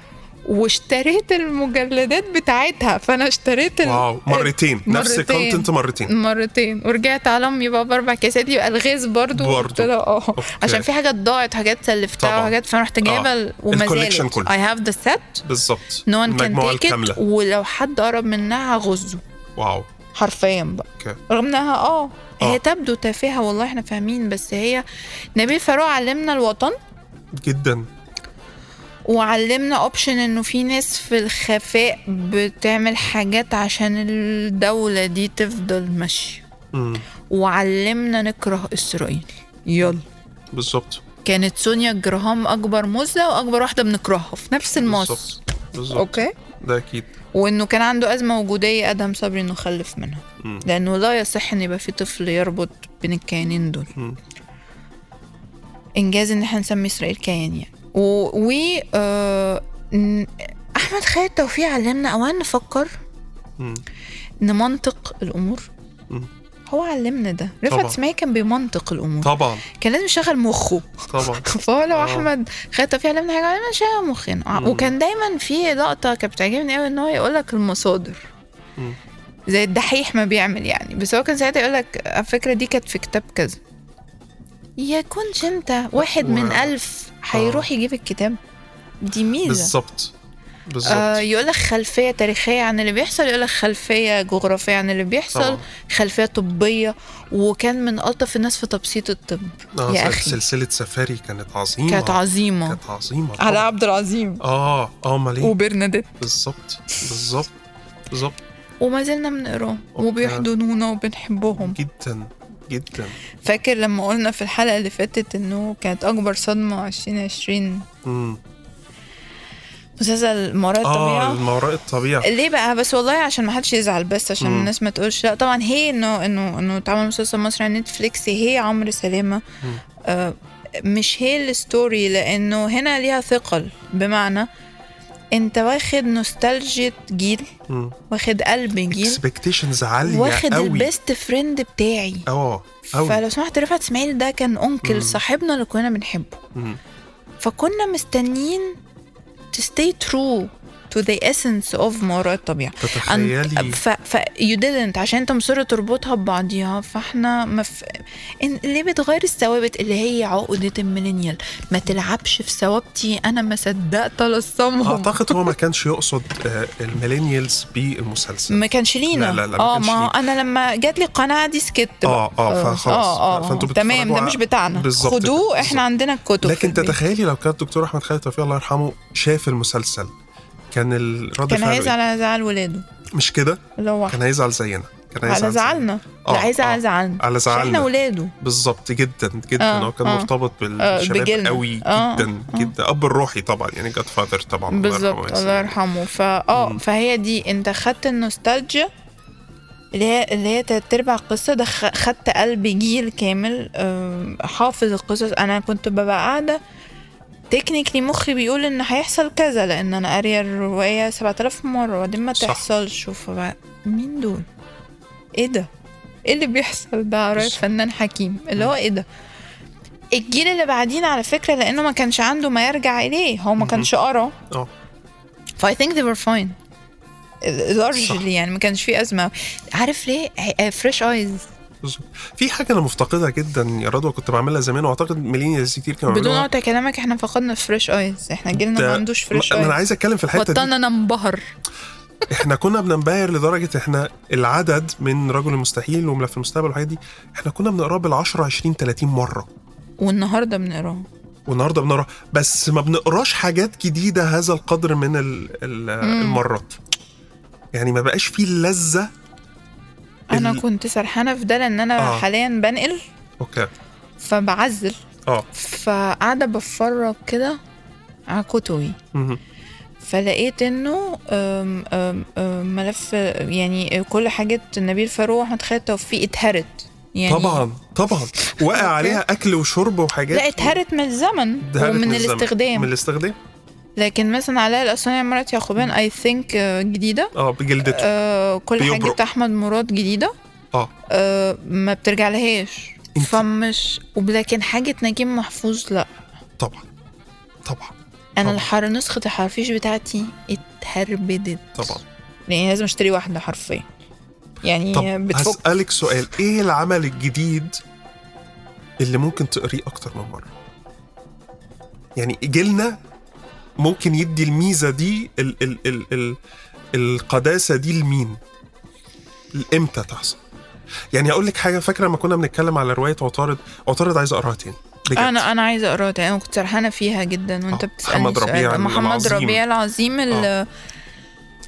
Speaker 2: واشتريت المجلدات بتاعتها فانا اشتريت ال-
Speaker 1: واو مرتين نفس
Speaker 2: مرتين.
Speaker 1: الكونتنت مرتين
Speaker 2: مرتين ورجعت على امي بقى باربع كيسات يبقى الغاز برضو
Speaker 1: برضو.
Speaker 2: قلت لها اه
Speaker 1: أوكي.
Speaker 2: عشان في حاجات ضاعت حاجات سلفتها
Speaker 1: طبعا.
Speaker 2: وحاجات فرحت جايبه ال- وما
Speaker 1: الcollection
Speaker 2: زالت
Speaker 1: كله.
Speaker 2: اي هاف ذا سيت
Speaker 1: بالظبط
Speaker 2: نو وان كان
Speaker 1: المجموعة
Speaker 2: تيكت
Speaker 1: الكاملة.
Speaker 2: ولو حد قرب منها غزه
Speaker 1: واو
Speaker 2: حرفيا بقى
Speaker 1: اوكي
Speaker 2: رغم انها اه
Speaker 1: آه.
Speaker 2: هي تبدو تافهه والله احنا فاهمين بس هي نبيل فاروق علمنا الوطن
Speaker 1: جدا
Speaker 2: وعلمنا اوبشن انه في ناس في الخفاء بتعمل حاجات عشان الدوله دي تفضل ماشيه
Speaker 1: مم.
Speaker 2: وعلمنا نكره اسرائيل يلا
Speaker 1: بالظبط
Speaker 2: كانت سونيا جراهام اكبر مزه واكبر واحده بنكرهها في نفس الماس
Speaker 1: بالظبط بالظبط
Speaker 2: اوكي
Speaker 1: ده اكيد
Speaker 2: وانه كان عنده ازمه وجوديه ادهم صبري انه خلف منها
Speaker 1: مم.
Speaker 2: لانه لا يصح ان يبقى في طفل يربط بين الكيانين دول
Speaker 1: مم.
Speaker 2: انجاز ان احنا نسمي اسرائيل كيان يعني و, و... آه... ن- احمد خالد توفيق علمنا اولا نفكر
Speaker 1: مم.
Speaker 2: نمنطق الامور
Speaker 1: مم.
Speaker 2: هو علمنا ده رفعت
Speaker 1: طبعا.
Speaker 2: اسماعيل كان بيمنطق الامور
Speaker 1: طبعا
Speaker 2: كان لازم يشغل مخه
Speaker 1: طبعا
Speaker 2: فهو لو يعني
Speaker 1: آه.
Speaker 2: احمد خد توفيق علمنا حاجه علمنا شغل مخنا
Speaker 1: مم.
Speaker 2: آه، وكان دايما في لقطه كانت بتعجبني قوي ان هو يقول لك المصادر
Speaker 1: مم.
Speaker 2: زي الدحيح ما بيعمل يعني بس هو كان ساعتها يقول لك الفكره دي كانت في كتاب كذا يا كنت انت واحد من
Speaker 1: و-
Speaker 2: ألف هيروح يجيب الكتاب دي ميزه
Speaker 1: آه. بالظبط بالظبط
Speaker 2: آه يقول لك خلفيه تاريخيه عن اللي بيحصل يقول لك خلفيه جغرافيه عن اللي بيحصل
Speaker 1: طبعاً.
Speaker 2: خلفيه طبيه وكان من الطف الناس في تبسيط الطب
Speaker 1: آه،
Speaker 2: يا
Speaker 1: سل-
Speaker 2: أخي.
Speaker 1: سلسله سفاري كانت عظيمه
Speaker 2: كانت عظيمه
Speaker 1: كانت عظيمه
Speaker 2: على
Speaker 1: طبعاً.
Speaker 2: عبد العظيم
Speaker 1: اه اه امال ايه
Speaker 2: وبرناديت
Speaker 1: بالظبط بالظبط بالظبط
Speaker 2: وما زلنا بنقراهم
Speaker 1: أوكي.
Speaker 2: وبيحضنونا وبنحبهم
Speaker 1: جدا جدا
Speaker 2: فاكر لما قلنا في الحلقة اللي فاتت انه كانت اكبر صدمة 2020
Speaker 1: مم.
Speaker 2: مسلسل مرات
Speaker 1: اه
Speaker 2: الطبيعة
Speaker 1: الموراء الطبيعه
Speaker 2: ليه بقى بس والله عشان ما حدش يزعل بس عشان
Speaker 1: مم.
Speaker 2: الناس ما تقولش لا طبعا هي انه انه انه اتعمل مسلسل مصري على نتفليكس هي عمرو سلامة
Speaker 1: مم.
Speaker 2: آه مش هي الستوري لانه هنا ليها ثقل بمعنى انت واخد نوستالجيا جيل واخد قلب جيل
Speaker 1: اكسبكتيشنز عاليه
Speaker 2: واخد
Speaker 1: قوي
Speaker 2: البيست فريند بتاعي
Speaker 1: اه قوي
Speaker 2: فلو سمحت رفعت اسماعيل ده كان
Speaker 1: مم.
Speaker 2: انكل صاحبنا اللي كنا بنحبه
Speaker 1: مم.
Speaker 2: فكنا مستنيين to stay true to the essence of ما وراء الطبيعة
Speaker 1: تتخيلي
Speaker 2: ف, ف you didn't عشان انت مصر تربطها ببعضيها فاحنا ما ف... إن... ليه بتغير الثوابت اللي هي عقدة الميلينيال ما تلعبش في ثوابتي انا ما صدقت الصمهم
Speaker 1: اعتقد هو ما كانش يقصد آه، الميلينيالز بالمسلسل
Speaker 2: ما كانش لينا
Speaker 1: لا- لا- لا، ما
Speaker 2: اه
Speaker 1: كانش
Speaker 2: ما
Speaker 1: لينا.
Speaker 2: انا لما جات لي القناعه دي سكت بقى.
Speaker 1: اه اه فخلاص
Speaker 2: اه اه
Speaker 1: فانتوا
Speaker 2: تمام
Speaker 1: بتتفرجوا
Speaker 2: ده
Speaker 1: على-
Speaker 2: مش بتاعنا
Speaker 1: بالظبط كده،
Speaker 2: خدوه
Speaker 1: بالظبط.
Speaker 2: احنا عندنا الكتب في
Speaker 1: لكن
Speaker 2: البيت.
Speaker 1: تتخيلي لو كان الدكتور احمد خالد توفيق الله يرحمه شاف المسلسل كان الرد
Speaker 2: كان
Speaker 1: فعله إيه؟
Speaker 2: هيزعل على زعل ولاده
Speaker 1: مش كده
Speaker 2: اللي هو
Speaker 1: كان هيزعل زينا كان هيزعل
Speaker 2: على
Speaker 1: زينا.
Speaker 2: زعلنا
Speaker 1: آه،
Speaker 2: لا عايز
Speaker 1: آه،
Speaker 2: على زعلنا
Speaker 1: على
Speaker 2: عشان احنا
Speaker 1: زعلنا
Speaker 2: ولاده
Speaker 1: بالظبط جدا جدا
Speaker 2: آه،
Speaker 1: هو كان
Speaker 2: آه.
Speaker 1: مرتبط
Speaker 2: آه،
Speaker 1: بالشباب
Speaker 2: بجيلنا.
Speaker 1: قوي
Speaker 2: آه،
Speaker 1: جدا جدا اب الروحي طبعا يعني جاد فاذر طبعا الله
Speaker 2: بالظبط
Speaker 1: يرحمه.
Speaker 2: الله يرحمه فا اه
Speaker 1: مم.
Speaker 2: فهي دي انت خدت النوستالجيا اللي هي اللي هي تلات ارباع القصه ده خ- خدت قلب جيل كامل آه، حافظ القصص انا كنت ببقى قاعده تكنيكلي مخي بيقول ان هيحصل كذا لان انا قاريه الروايه 7000 مره وبعدين ما
Speaker 1: صح.
Speaker 2: تحصلش فبقى مين دول ايه ده ايه اللي بيحصل ده قرايه
Speaker 1: صح.
Speaker 2: فنان حكيم اللي هو ايه ده الجيل اللي بعدينا على فكره لانه ما كانش عنده ما يرجع اليه هو ما
Speaker 1: مهم.
Speaker 2: كانش قرا
Speaker 1: اه
Speaker 2: فاي ثينك ذي were فاين
Speaker 1: صح.
Speaker 2: لارجلي يعني ما كانش في ازمه عارف ليه آه، فريش ايز
Speaker 1: بالظبط في حاجه انا مفتقدها جدا يا رضوى كنت بعملها زمان واعتقد ميلينيالز كتير كانوا
Speaker 2: بدون
Speaker 1: بيعملوها.
Speaker 2: قطع كلامك احنا فقدنا فريش ايز احنا جيلنا
Speaker 1: ده-
Speaker 2: ما عندوش فريش
Speaker 1: ما- ما انا
Speaker 2: ايز
Speaker 1: عايز اتكلم في الحته دي
Speaker 2: بطلنا ننبهر
Speaker 1: احنا كنا بننبهر لدرجه احنا العدد من رجل المستحيل وملف المستقبل والحاجات دي احنا كنا بنقراه بال 10 20 30 مره
Speaker 2: والنهارده بنقراه
Speaker 1: والنهارده بنقرا بس ما بنقراش حاجات جديده هذا القدر من ال- ال- المرات يعني ما بقاش فيه اللذه
Speaker 2: انا
Speaker 1: ال-
Speaker 2: كنت سرحانه في ده لان انا
Speaker 1: آه.
Speaker 2: حاليا بنقل
Speaker 1: اوكي
Speaker 2: فبعزل
Speaker 1: اه
Speaker 2: فقاعده بتفرج كده على كتبي
Speaker 1: مهم.
Speaker 2: فلقيت انه أم- أم- أم ملف يعني كل حاجه نبيل فاروق واحمد خالد توفيق اتهرت يعني
Speaker 1: طبعا طبعا وقع عليها اكل وشرب وحاجات
Speaker 2: لا اتهرت من الزمن
Speaker 1: اتهرت الزمن.
Speaker 2: ومن الاستخدام
Speaker 1: من الاستخدام
Speaker 2: لكن مثلا علاء الاسواني مرات يعقوبيان اي ثينك جديده
Speaker 1: اه بجلدته
Speaker 2: آه كل
Speaker 1: بيبرق.
Speaker 2: حاجه احمد مراد جديده
Speaker 1: اه
Speaker 2: آه ما بترجع لهاش
Speaker 1: انت-
Speaker 2: فمش ولكن حاجه نجيب محفوظ لا
Speaker 1: طبعا طبعا
Speaker 2: انا
Speaker 1: طبعا.
Speaker 2: الحر نسخه الحرافيش بتاعتي اتهربدت
Speaker 1: طبعا
Speaker 2: يعني لازم اشتري واحده حرفيا يعني
Speaker 1: طب
Speaker 2: بتفك
Speaker 1: هسألك سؤال ايه العمل الجديد اللي ممكن تقريه اكتر من مره يعني جيلنا ممكن يدي الميزه دي ال ال ال ال القداسه دي لمين امتى تحصل يعني هقول لك حاجه فاكره لما كنا بنتكلم على روايه عطارد عطارد عايز اقراها تاني بجد.
Speaker 2: انا انا عايزه اقراها تاني انا كنت سرحانه فيها جدا وانت
Speaker 1: آه،
Speaker 2: بتسالني
Speaker 1: محمد
Speaker 2: السؤال
Speaker 1: ربيع
Speaker 2: ده. محمد
Speaker 1: العظيم. آه.
Speaker 2: ربيع العظيم اللي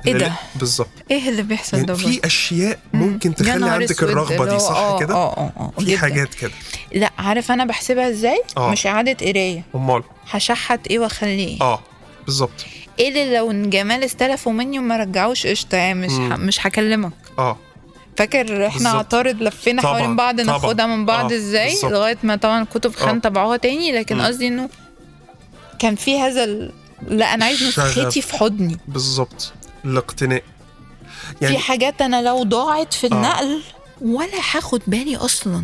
Speaker 2: ايه
Speaker 1: اللي-
Speaker 2: ده؟
Speaker 1: يعني بالظبط
Speaker 2: ايه اللي بيحصل
Speaker 1: يعني
Speaker 2: ده
Speaker 1: في اشياء ممكن
Speaker 2: يا
Speaker 1: تخلي
Speaker 2: نهار
Speaker 1: عندك
Speaker 2: أسود،
Speaker 1: الرغبه
Speaker 2: اللي هو
Speaker 1: دي صح
Speaker 2: آه،
Speaker 1: كده
Speaker 2: آه اه اه
Speaker 1: في
Speaker 2: جداً.
Speaker 1: حاجات كده
Speaker 2: لا عارف انا بحسبها ازاي
Speaker 1: آه.
Speaker 2: مش اعاده قرايه
Speaker 1: امال
Speaker 2: هشحت ايه واخليه ايه
Speaker 1: اه بالظبط
Speaker 2: ايه اللي لو إن جمال استلفوا مني وما رجعوش قشطه يعني مش
Speaker 1: مم.
Speaker 2: ح... مش هكلمك
Speaker 1: اه
Speaker 2: فاكر احنا
Speaker 1: بالظبط.
Speaker 2: عطارد لفينا
Speaker 1: طبعاً،
Speaker 2: حوالين بعض
Speaker 1: طبعاً.
Speaker 2: ناخدها من بعض
Speaker 1: آه،
Speaker 2: ازاي
Speaker 1: بالظبط.
Speaker 2: لغايه ما طبعا الكتب خان
Speaker 1: آه.
Speaker 2: طبعوها تاني لكن
Speaker 1: مم.
Speaker 2: قصدي انه كان في هذا ال... لا انا عايز
Speaker 1: الشغف.
Speaker 2: نسختي في حضني
Speaker 1: بالظبط الاقتناء
Speaker 2: في
Speaker 1: يعني آه.
Speaker 2: حاجات انا لو ضاعت في النقل ولا هاخد بالي اصلا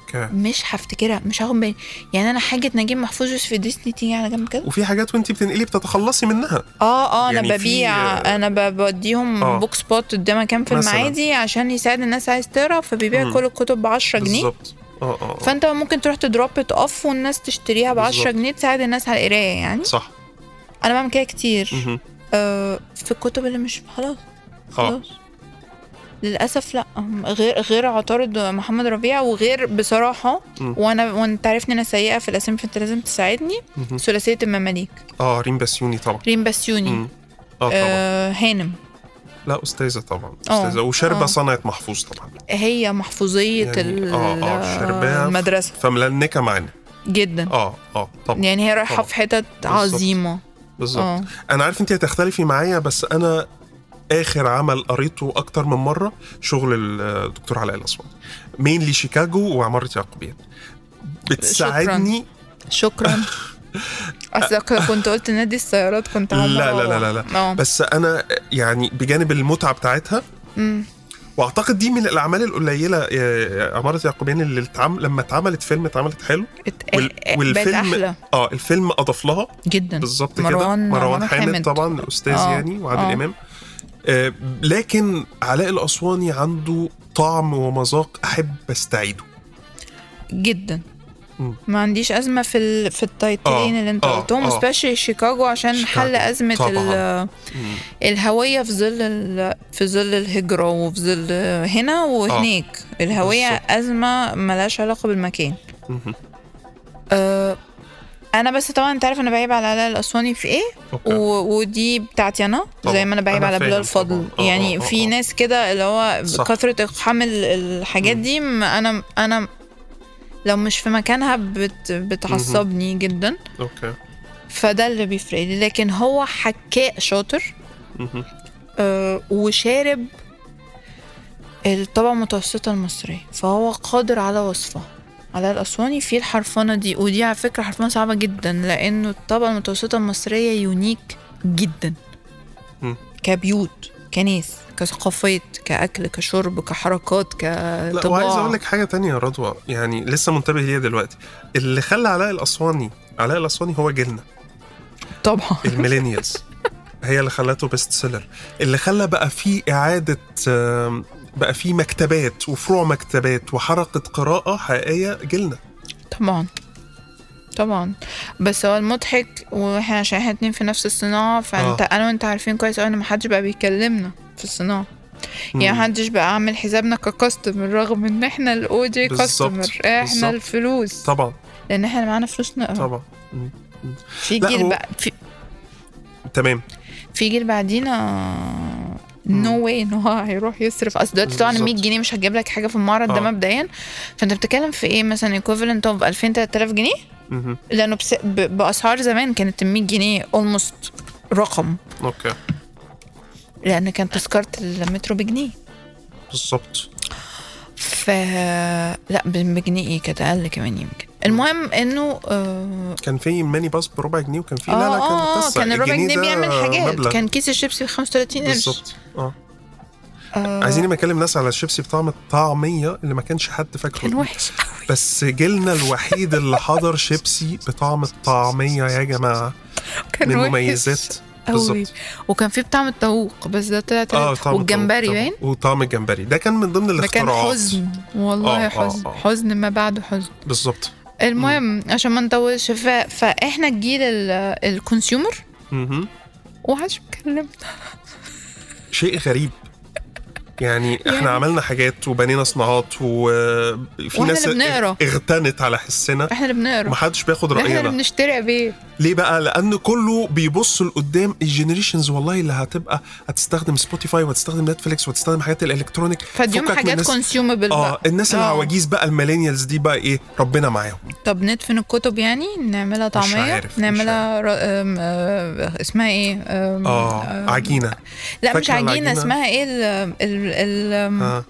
Speaker 1: اوكي
Speaker 2: مش هفتكرها مش هاخد بالي يعني انا حاجه نجيب محفوظ يوسف الديسني تيجي على جنب كده
Speaker 1: وفي حاجات وانت بتنقلي بتتخلصي منها
Speaker 2: اه اه انا
Speaker 1: يعني في-
Speaker 2: ببيع انا ب- بوديهم
Speaker 1: آه.
Speaker 2: بوك سبوت قدام كام في
Speaker 1: مثلاً.
Speaker 2: المعادي عشان يساعد الناس عايز تقرا فبيبيع
Speaker 1: مم.
Speaker 2: كل الكتب ب 10 جنيه
Speaker 1: بالظبط اه اه آه.
Speaker 2: فانت ممكن تروح تدروب ات اوف والناس تشتريها ب 10
Speaker 1: بالظبط.
Speaker 2: جنيه تساعد الناس على القرايه يعني
Speaker 1: آه. صح
Speaker 2: انا بعمل كده كتير
Speaker 1: مهم.
Speaker 2: آه في الكتب اللي مش خلاص
Speaker 1: اه
Speaker 2: خلاص للاسف لا غير غير عطارد محمد ربيع وغير بصراحه
Speaker 1: مم.
Speaker 2: وانا وانت عارفني انا سيئه في الاسامي فانت لازم تساعدني
Speaker 1: مهم.
Speaker 2: ثلاثيه المماليك
Speaker 1: اه ريم بسيوني طبعا
Speaker 2: ريم بسيوني
Speaker 1: مم. اه طبعا
Speaker 2: آه هانم
Speaker 1: لا استاذه طبعا
Speaker 2: آه.
Speaker 1: استاذه وشربه
Speaker 2: آه.
Speaker 1: صنعت محفوظ طبعا
Speaker 2: هي محفوظيه
Speaker 1: يعني-
Speaker 2: ال-
Speaker 1: آه، آه، شرباف.
Speaker 2: المدرسه
Speaker 1: فملنكه معانا
Speaker 2: جدا
Speaker 1: اه اه طبعا
Speaker 2: يعني هي رايحه
Speaker 1: طبعاً.
Speaker 2: في حتت عظيمه
Speaker 1: بالظبط
Speaker 2: اه
Speaker 1: انا عارف انت هتختلفي معايا بس انا اخر عمل قريته اكتر من مره شغل الدكتور علاء الاسواني مينلي شيكاغو وعماره يعقوبيان بتساعدني
Speaker 2: شكرا اصل لو كنت قلت نادي السيارات كنت
Speaker 1: لا
Speaker 2: عمال
Speaker 1: لا لا لا, لا.
Speaker 2: اه
Speaker 1: بس انا يعني بجانب المتعه بتاعتها
Speaker 2: أمم.
Speaker 1: واعتقد دي من الاعمال القليله آه، عماره يعقوبيان اللي اتعم... لما اتعملت فيلم اتعملت حلو
Speaker 2: ات- اه- اه- بقت احلى
Speaker 1: اه الفيلم اضاف لها
Speaker 2: جدا
Speaker 1: بالظبط كده
Speaker 2: مروان
Speaker 1: مروان حامد طبعا استاذ
Speaker 2: آه،
Speaker 1: يعني وعادل
Speaker 2: آه.
Speaker 1: امام آه لكن علاء الاسواني عنده طعم ومذاق احب استعيده
Speaker 2: جدا
Speaker 1: مم.
Speaker 2: ما عنديش ازمه في ال... في التايتلين
Speaker 1: آه،
Speaker 2: اللي انت
Speaker 1: آه،
Speaker 2: قلتهم
Speaker 1: آه.
Speaker 2: سبيشالي شيكاغو عشان
Speaker 1: شيكاغو،
Speaker 2: حل ازمه
Speaker 1: طبعاً.
Speaker 2: ال... الهويه في ظل ال... في ظل الهجره وفي ظل هنا وهناك الهويه
Speaker 1: آه. بالظبط.
Speaker 2: ازمه ملهاش علاقه بالمكان
Speaker 1: مهم.
Speaker 2: أه انا بس طبعا انت عارف انا بعيب على علاء الاسواني في ايه
Speaker 1: أوكي.
Speaker 2: و... ودي بتاعتي انا
Speaker 1: طبعاً.
Speaker 2: زي ما انا بعيب
Speaker 1: أنا
Speaker 2: على
Speaker 1: فاهم
Speaker 2: بلال فضل
Speaker 1: طبعاً. آه،
Speaker 2: يعني
Speaker 1: آه، آه،
Speaker 2: في
Speaker 1: آه.
Speaker 2: ناس كده اللي هو
Speaker 1: صح.
Speaker 2: كثره اقحام ال- الحاجات
Speaker 1: مم.
Speaker 2: دي م- انا انا لو مش في مكانها بت... بتعصبني جدا
Speaker 1: اوكي
Speaker 2: فده اللي بيفرق لي لكن هو حكاء شاطر
Speaker 1: مهم.
Speaker 2: آه، وشارب الطبقة المتوسطة المصرية فهو قادر على وصفها على الأسواني في الحرفنة دي ودي على فكرة حرفنة صعبة جدا لأنه الطبقة المتوسطة المصرية يونيك جدا
Speaker 1: مم.
Speaker 2: كبيوت كناس كثقافات كأكل كشرب كحركات
Speaker 1: لا وعايز اقول
Speaker 2: كطباع
Speaker 1: لك حاجه تانية يا رضوى يعني لسه منتبه ليها دلوقتي اللي خلى علاء الاسواني علاء الاسواني هو جيلنا
Speaker 2: طبعا
Speaker 1: الميلينيالز هي اللي خلته بيست سيلر اللي خلى بقى فيه اعاده آم، بقى فيه مكتبات وفروع مكتبات وحركه قراءه حقيقيه جيلنا
Speaker 2: طبعا طبعا بس هو المضحك واحنا عشان احنا اتنين في نفس الصناعة فانت
Speaker 1: آه.
Speaker 2: انا وانت عارفين كويس اوي ان محدش بقى بيكلمنا في الصناعة يعني
Speaker 1: مم.
Speaker 2: محدش بقى عامل حسابنا ككاستمر رغم ان احنا الاودي
Speaker 1: بالظبط،
Speaker 2: كاستمر احنا
Speaker 1: بالظبط.
Speaker 2: الفلوس
Speaker 1: طبعا
Speaker 2: لان احنا معانا فلوس نقرا
Speaker 1: طبعا مم.
Speaker 2: في
Speaker 1: لا،
Speaker 2: جيل
Speaker 1: هو-
Speaker 2: بقى في,
Speaker 1: تمام
Speaker 2: في جيل بعدينا نو واي ان هو هيروح يصرف اصل دلوقتي طبعا 100
Speaker 1: بالظبط.
Speaker 2: جنيه مش هتجيب لك حاجه في المعرض ده
Speaker 1: آه.
Speaker 2: مبدئيا فانت بتتكلم في ايه مثلا ايكوفالنت اوف 2000 3000 جنيه
Speaker 1: مهم.
Speaker 2: لانه بس... ب... باسعار زمان كانت 100 جنيه اولموست رقم
Speaker 1: اوكي
Speaker 2: لان كان تذكره المترو بجنيه
Speaker 1: بالظبط
Speaker 2: ف لا ب- بجنيه ايه كانت اقل كمان يمكن المهم انه آه...
Speaker 1: كان في ماني باص بربع جنيه وكان في
Speaker 2: اه
Speaker 1: لا لا كان
Speaker 2: اه آه،
Speaker 1: قصه
Speaker 2: كان الربع
Speaker 1: الجنيه
Speaker 2: جنيه
Speaker 1: ده
Speaker 2: بيعمل حاجات
Speaker 1: مبلغ.
Speaker 2: كان كيس الشيبسي ب 35 قرش
Speaker 1: بالظبط اه
Speaker 2: آه،
Speaker 1: عايزين لما اكلم ناس على الشيبسي بطعم الطعميه اللي ما كانش حد
Speaker 2: كان
Speaker 1: فاكره
Speaker 2: وحش قوي
Speaker 1: بس جيلنا الوحيد اللي حضر شيبسي بطعم الطعميه يا آه، جماعه
Speaker 2: كان
Speaker 1: من
Speaker 2: وحش
Speaker 1: مميزات
Speaker 2: قوي
Speaker 1: بالظبط
Speaker 2: وكان في بطعم الطاووق بس ده طلع
Speaker 1: اه
Speaker 2: تالت
Speaker 1: طعم
Speaker 2: والجمبري
Speaker 1: طعم-
Speaker 2: باين
Speaker 1: وطعم الجمبري ده كان من ضمن
Speaker 2: ده كان
Speaker 1: الاختراعات
Speaker 2: حزن والله
Speaker 1: آه، آه،
Speaker 2: حزن
Speaker 1: آه.
Speaker 2: حزن ما بعد حزن
Speaker 1: بالظبط
Speaker 2: المهم عشان ما نطولش ف... فاحنا الجيل ال- الكونسيومر
Speaker 1: مهم.
Speaker 2: ومحدش بيتكلم
Speaker 1: شيء غريب يعني
Speaker 2: يعني-
Speaker 1: احنا عملنا حاجات وبنينا صناعات وفي
Speaker 2: واحنا
Speaker 1: ناس
Speaker 2: اللي بنقرا.
Speaker 1: اغتنت على حسنا
Speaker 2: احنا اللي بنقرا
Speaker 1: ومحدش بياخد
Speaker 2: احنا اللي
Speaker 1: راينا
Speaker 2: بنشتري بيه
Speaker 1: ليه بقى لان كله بيبص لقدام الجنريشنز والله اللي هتبقى هتستخدم سبوتيفاي وهتستخدم نتفليكس وهتستخدم حاجات الالكترونيك
Speaker 2: فديهم
Speaker 1: فكك من
Speaker 2: حاجات آه.
Speaker 1: الناس-
Speaker 2: كونسيومبل
Speaker 1: اه الناس العواجيز بقى الميلينيالز دي بقى ايه ربنا معاهم
Speaker 2: طب ندفن الكتب يعني نعملها طعميه
Speaker 1: عارف، مش
Speaker 2: نعملها ر... أم... آه، اسمها ايه أم...
Speaker 1: اه
Speaker 2: آه،
Speaker 1: عجينه
Speaker 2: لا مش
Speaker 1: فاكرة
Speaker 2: عجينه,
Speaker 1: العجينة؟
Speaker 2: اسمها ايه ال... ال... ال...
Speaker 1: آه.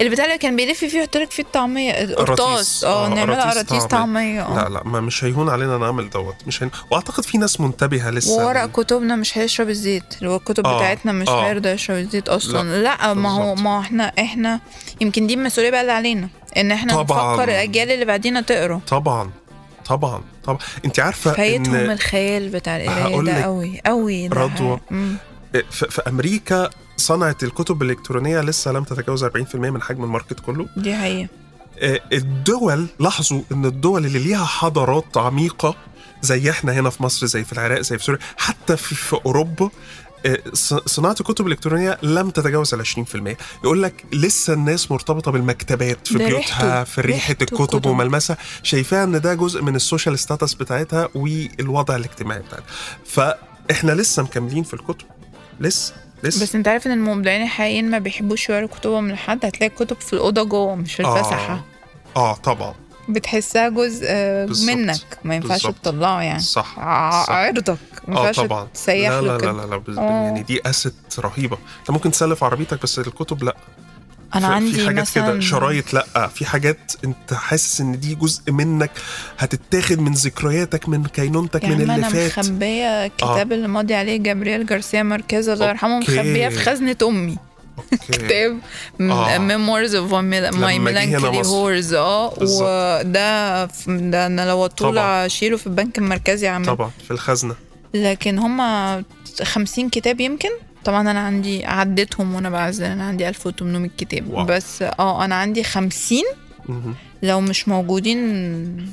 Speaker 2: البتاع اللي كان بيلف فيه يحط لك فيه الطعميه القرطاس اه نعملها قراطيس طعميه
Speaker 1: آه، لا
Speaker 2: اه
Speaker 1: لا ما مش هيهون علينا نعمل دوت مش هين... واعتقد في ناس منتبهه لسه
Speaker 2: وورق
Speaker 1: لل-
Speaker 2: كتبنا مش هيشرب الزيت اللي هو الكتب
Speaker 1: آه،
Speaker 2: بتاعتنا مش
Speaker 1: آه.
Speaker 2: هيرضى يشرب الزيت اصلا لا, ما هو
Speaker 1: بالظبط.
Speaker 2: ما هو احنا احنا يمكن دي المسؤوليه بقى اللي علينا ان احنا
Speaker 1: طبعاً.
Speaker 2: نفكر الاجيال اللي بعدينا تقرا
Speaker 1: طبعا طبعا طبعا انت عارفه
Speaker 2: فايتهم
Speaker 1: ان
Speaker 2: الخيال بتاع القرايه
Speaker 1: هقول
Speaker 2: ده
Speaker 1: لك
Speaker 2: قوي قوي ده
Speaker 1: رضوى.
Speaker 2: حقيقي. مم.
Speaker 1: إيه، في, في امريكا صنعت الكتب الالكترونيه لسه لم تتجاوز 40% من حجم الماركت كله
Speaker 2: دي حقيقه
Speaker 1: آه، الدول لاحظوا ان الدول اللي ليها حضارات عميقه زي احنا هنا في مصر زي في العراق زي في سوريا حتى في, في اوروبا آه، ص- صناعه الكتب الالكترونيه لم تتجاوز ال 20% يقول لك لسه الناس مرتبطه بالمكتبات في
Speaker 2: ده
Speaker 1: بيوتها
Speaker 2: ريحته-
Speaker 1: في ريحه
Speaker 2: ريحته
Speaker 1: الكتب
Speaker 2: كتب.
Speaker 1: وملمسها شايفاها ان ده جزء من السوشيال ستاتس بتاعتها والوضع الاجتماعي بتاعتها فاحنا لسه مكملين في الكتب لسه لسه
Speaker 2: بس انت عارف ان المبدعين الحقيقيين ما بيحبوش يقروا كتبهم لحد هتلاقي الكتب في الاوضه جوه مش في الفسحه
Speaker 1: اه, آه طبعا
Speaker 2: بتحسها جزء آه،
Speaker 1: بالظبط.
Speaker 2: منك ما ينفعش
Speaker 1: بالظبط.
Speaker 2: تطلعه يعني
Speaker 1: صح
Speaker 2: ع-
Speaker 1: صح.
Speaker 2: عرضك ما
Speaker 1: اه
Speaker 2: ينفعش
Speaker 1: طبعا
Speaker 2: تسيح
Speaker 1: لا
Speaker 2: له
Speaker 1: لا,
Speaker 2: كده.
Speaker 1: لا لا لا بز...
Speaker 2: آه.
Speaker 1: يعني دي اسيت رهيبه انت ممكن تسلف عربيتك بس الكتب لا
Speaker 2: انا
Speaker 1: في-
Speaker 2: عندي
Speaker 1: في حاجات كده
Speaker 2: مثلا
Speaker 1: شرايط لا في حاجات انت حاسس ان دي جزء منك هتتاخد من ذكرياتك من كينونتك
Speaker 2: يا
Speaker 1: من
Speaker 2: عم
Speaker 1: اللي
Speaker 2: انا
Speaker 1: فات آه.
Speaker 2: مخبيه يعني كتاب اللي ماضي عليه جابرييل جارسيا ماركيز الله يرحمه
Speaker 1: أوكي.
Speaker 2: مخبيه في طيب؟ خزنه امي
Speaker 1: أوكي.
Speaker 2: كتاب
Speaker 1: آه.
Speaker 2: ميمورز اوف ماي
Speaker 1: لما جه هنا
Speaker 2: ميلانكولي
Speaker 1: مصر.
Speaker 2: هورز اه
Speaker 1: بالظبط.
Speaker 2: وده ف- ده انا لو
Speaker 1: طبعا.
Speaker 2: طول اشيله في البنك المركزي عامه
Speaker 1: طبعا في الخزنه
Speaker 2: لكن هما 50 كتاب يمكن طبعا انا عندي عديتهم وانا بعزل انا عندي 1800 كتاب
Speaker 1: واو.
Speaker 2: بس اه انا عندي 50
Speaker 1: مهم.
Speaker 2: لو مش موجودين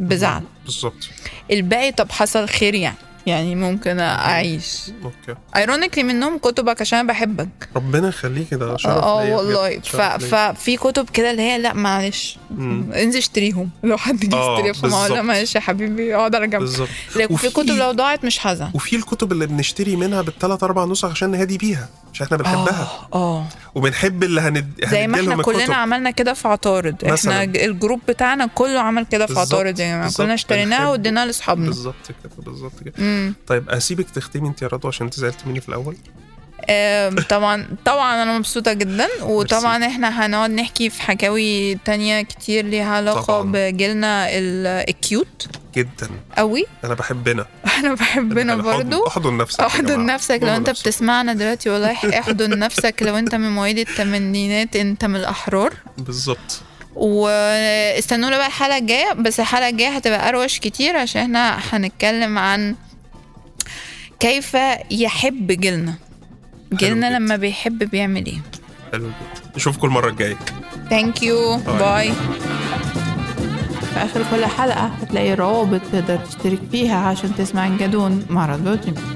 Speaker 2: بزعل
Speaker 1: بالظبط
Speaker 2: الباقي طب حصل خير يعني يعني ممكن اعيش
Speaker 1: اوكي
Speaker 2: ايرونيكلي منهم كتبك عشان أنا بحبك
Speaker 1: ربنا يخليك ده شرف ليا
Speaker 2: اه
Speaker 1: بجد.
Speaker 2: والله ف...
Speaker 1: شرف ليا.
Speaker 2: ففي كتب كده اللي هي لا معلش
Speaker 1: مم.
Speaker 2: انزل اشتريهم لو حد جه
Speaker 1: آه،
Speaker 2: يشتريهم فما لا
Speaker 1: بالظبط.
Speaker 2: معلش يا حبيبي اقعد على جنب
Speaker 1: بالظبط
Speaker 2: لكن
Speaker 1: وفي-
Speaker 2: في كتب لو ضاعت مش هزعل
Speaker 1: وفي الكتب اللي بنشتري منها بالثلاث اربع نسخ عشان نهادي بيها عشان احنا بنحبها
Speaker 2: اه اه
Speaker 1: وبنحب اللي هند...
Speaker 2: زي ما
Speaker 1: هنديلهم
Speaker 2: احنا
Speaker 1: الكتب.
Speaker 2: كلنا عملنا كده في عطارد احنا
Speaker 1: مثلاً.
Speaker 2: ج- الجروب بتاعنا كله عمل كده في
Speaker 1: بالظبط،
Speaker 2: عطارد يا جماعه
Speaker 1: بالظبط،
Speaker 2: كلنا اشتريناها
Speaker 1: بنحب.
Speaker 2: واديناها لاصحابنا
Speaker 1: بالظبط كده بالظبط كده
Speaker 2: امم
Speaker 1: طيب اسيبك تختمي انت يا رضوى عشان انت زعلت مني في الاول
Speaker 2: آه، طبعا طبعا انا مبسوطه جدا وطبعا احنا هنقعد نحكي في حكاوي تانية كتير ليها علاقه
Speaker 1: طبعاً.
Speaker 2: بجيلنا ال- الكيوت
Speaker 1: جدا
Speaker 2: قوي
Speaker 1: انا بحبنا
Speaker 2: احنا بحبنا
Speaker 1: أنا-
Speaker 2: برضو
Speaker 1: احضن نفسك يا جماعة.
Speaker 2: احضن نفسك لو
Speaker 1: احضن
Speaker 2: انت بتسمعنا دلوقتي والله احضن نفسك لو انت من مواليد الثمانينات انت من الاحرار
Speaker 1: بالظبط
Speaker 2: واستنونا بقى الحلقه الجايه بس الحلقه الجايه هتبقى اروش كتير عشان احنا هنتكلم عن كيف يحب جيلنا جيلنا
Speaker 1: جدا.
Speaker 2: لما بيحب بيعمل ايه
Speaker 1: حلو جدا. نشوفكم المره الجايه
Speaker 2: ثانك يو باي في اخر كل حلقه هتلاقي روابط تقدر تشترك فيها عشان تسمع الجدون مع راديو جيم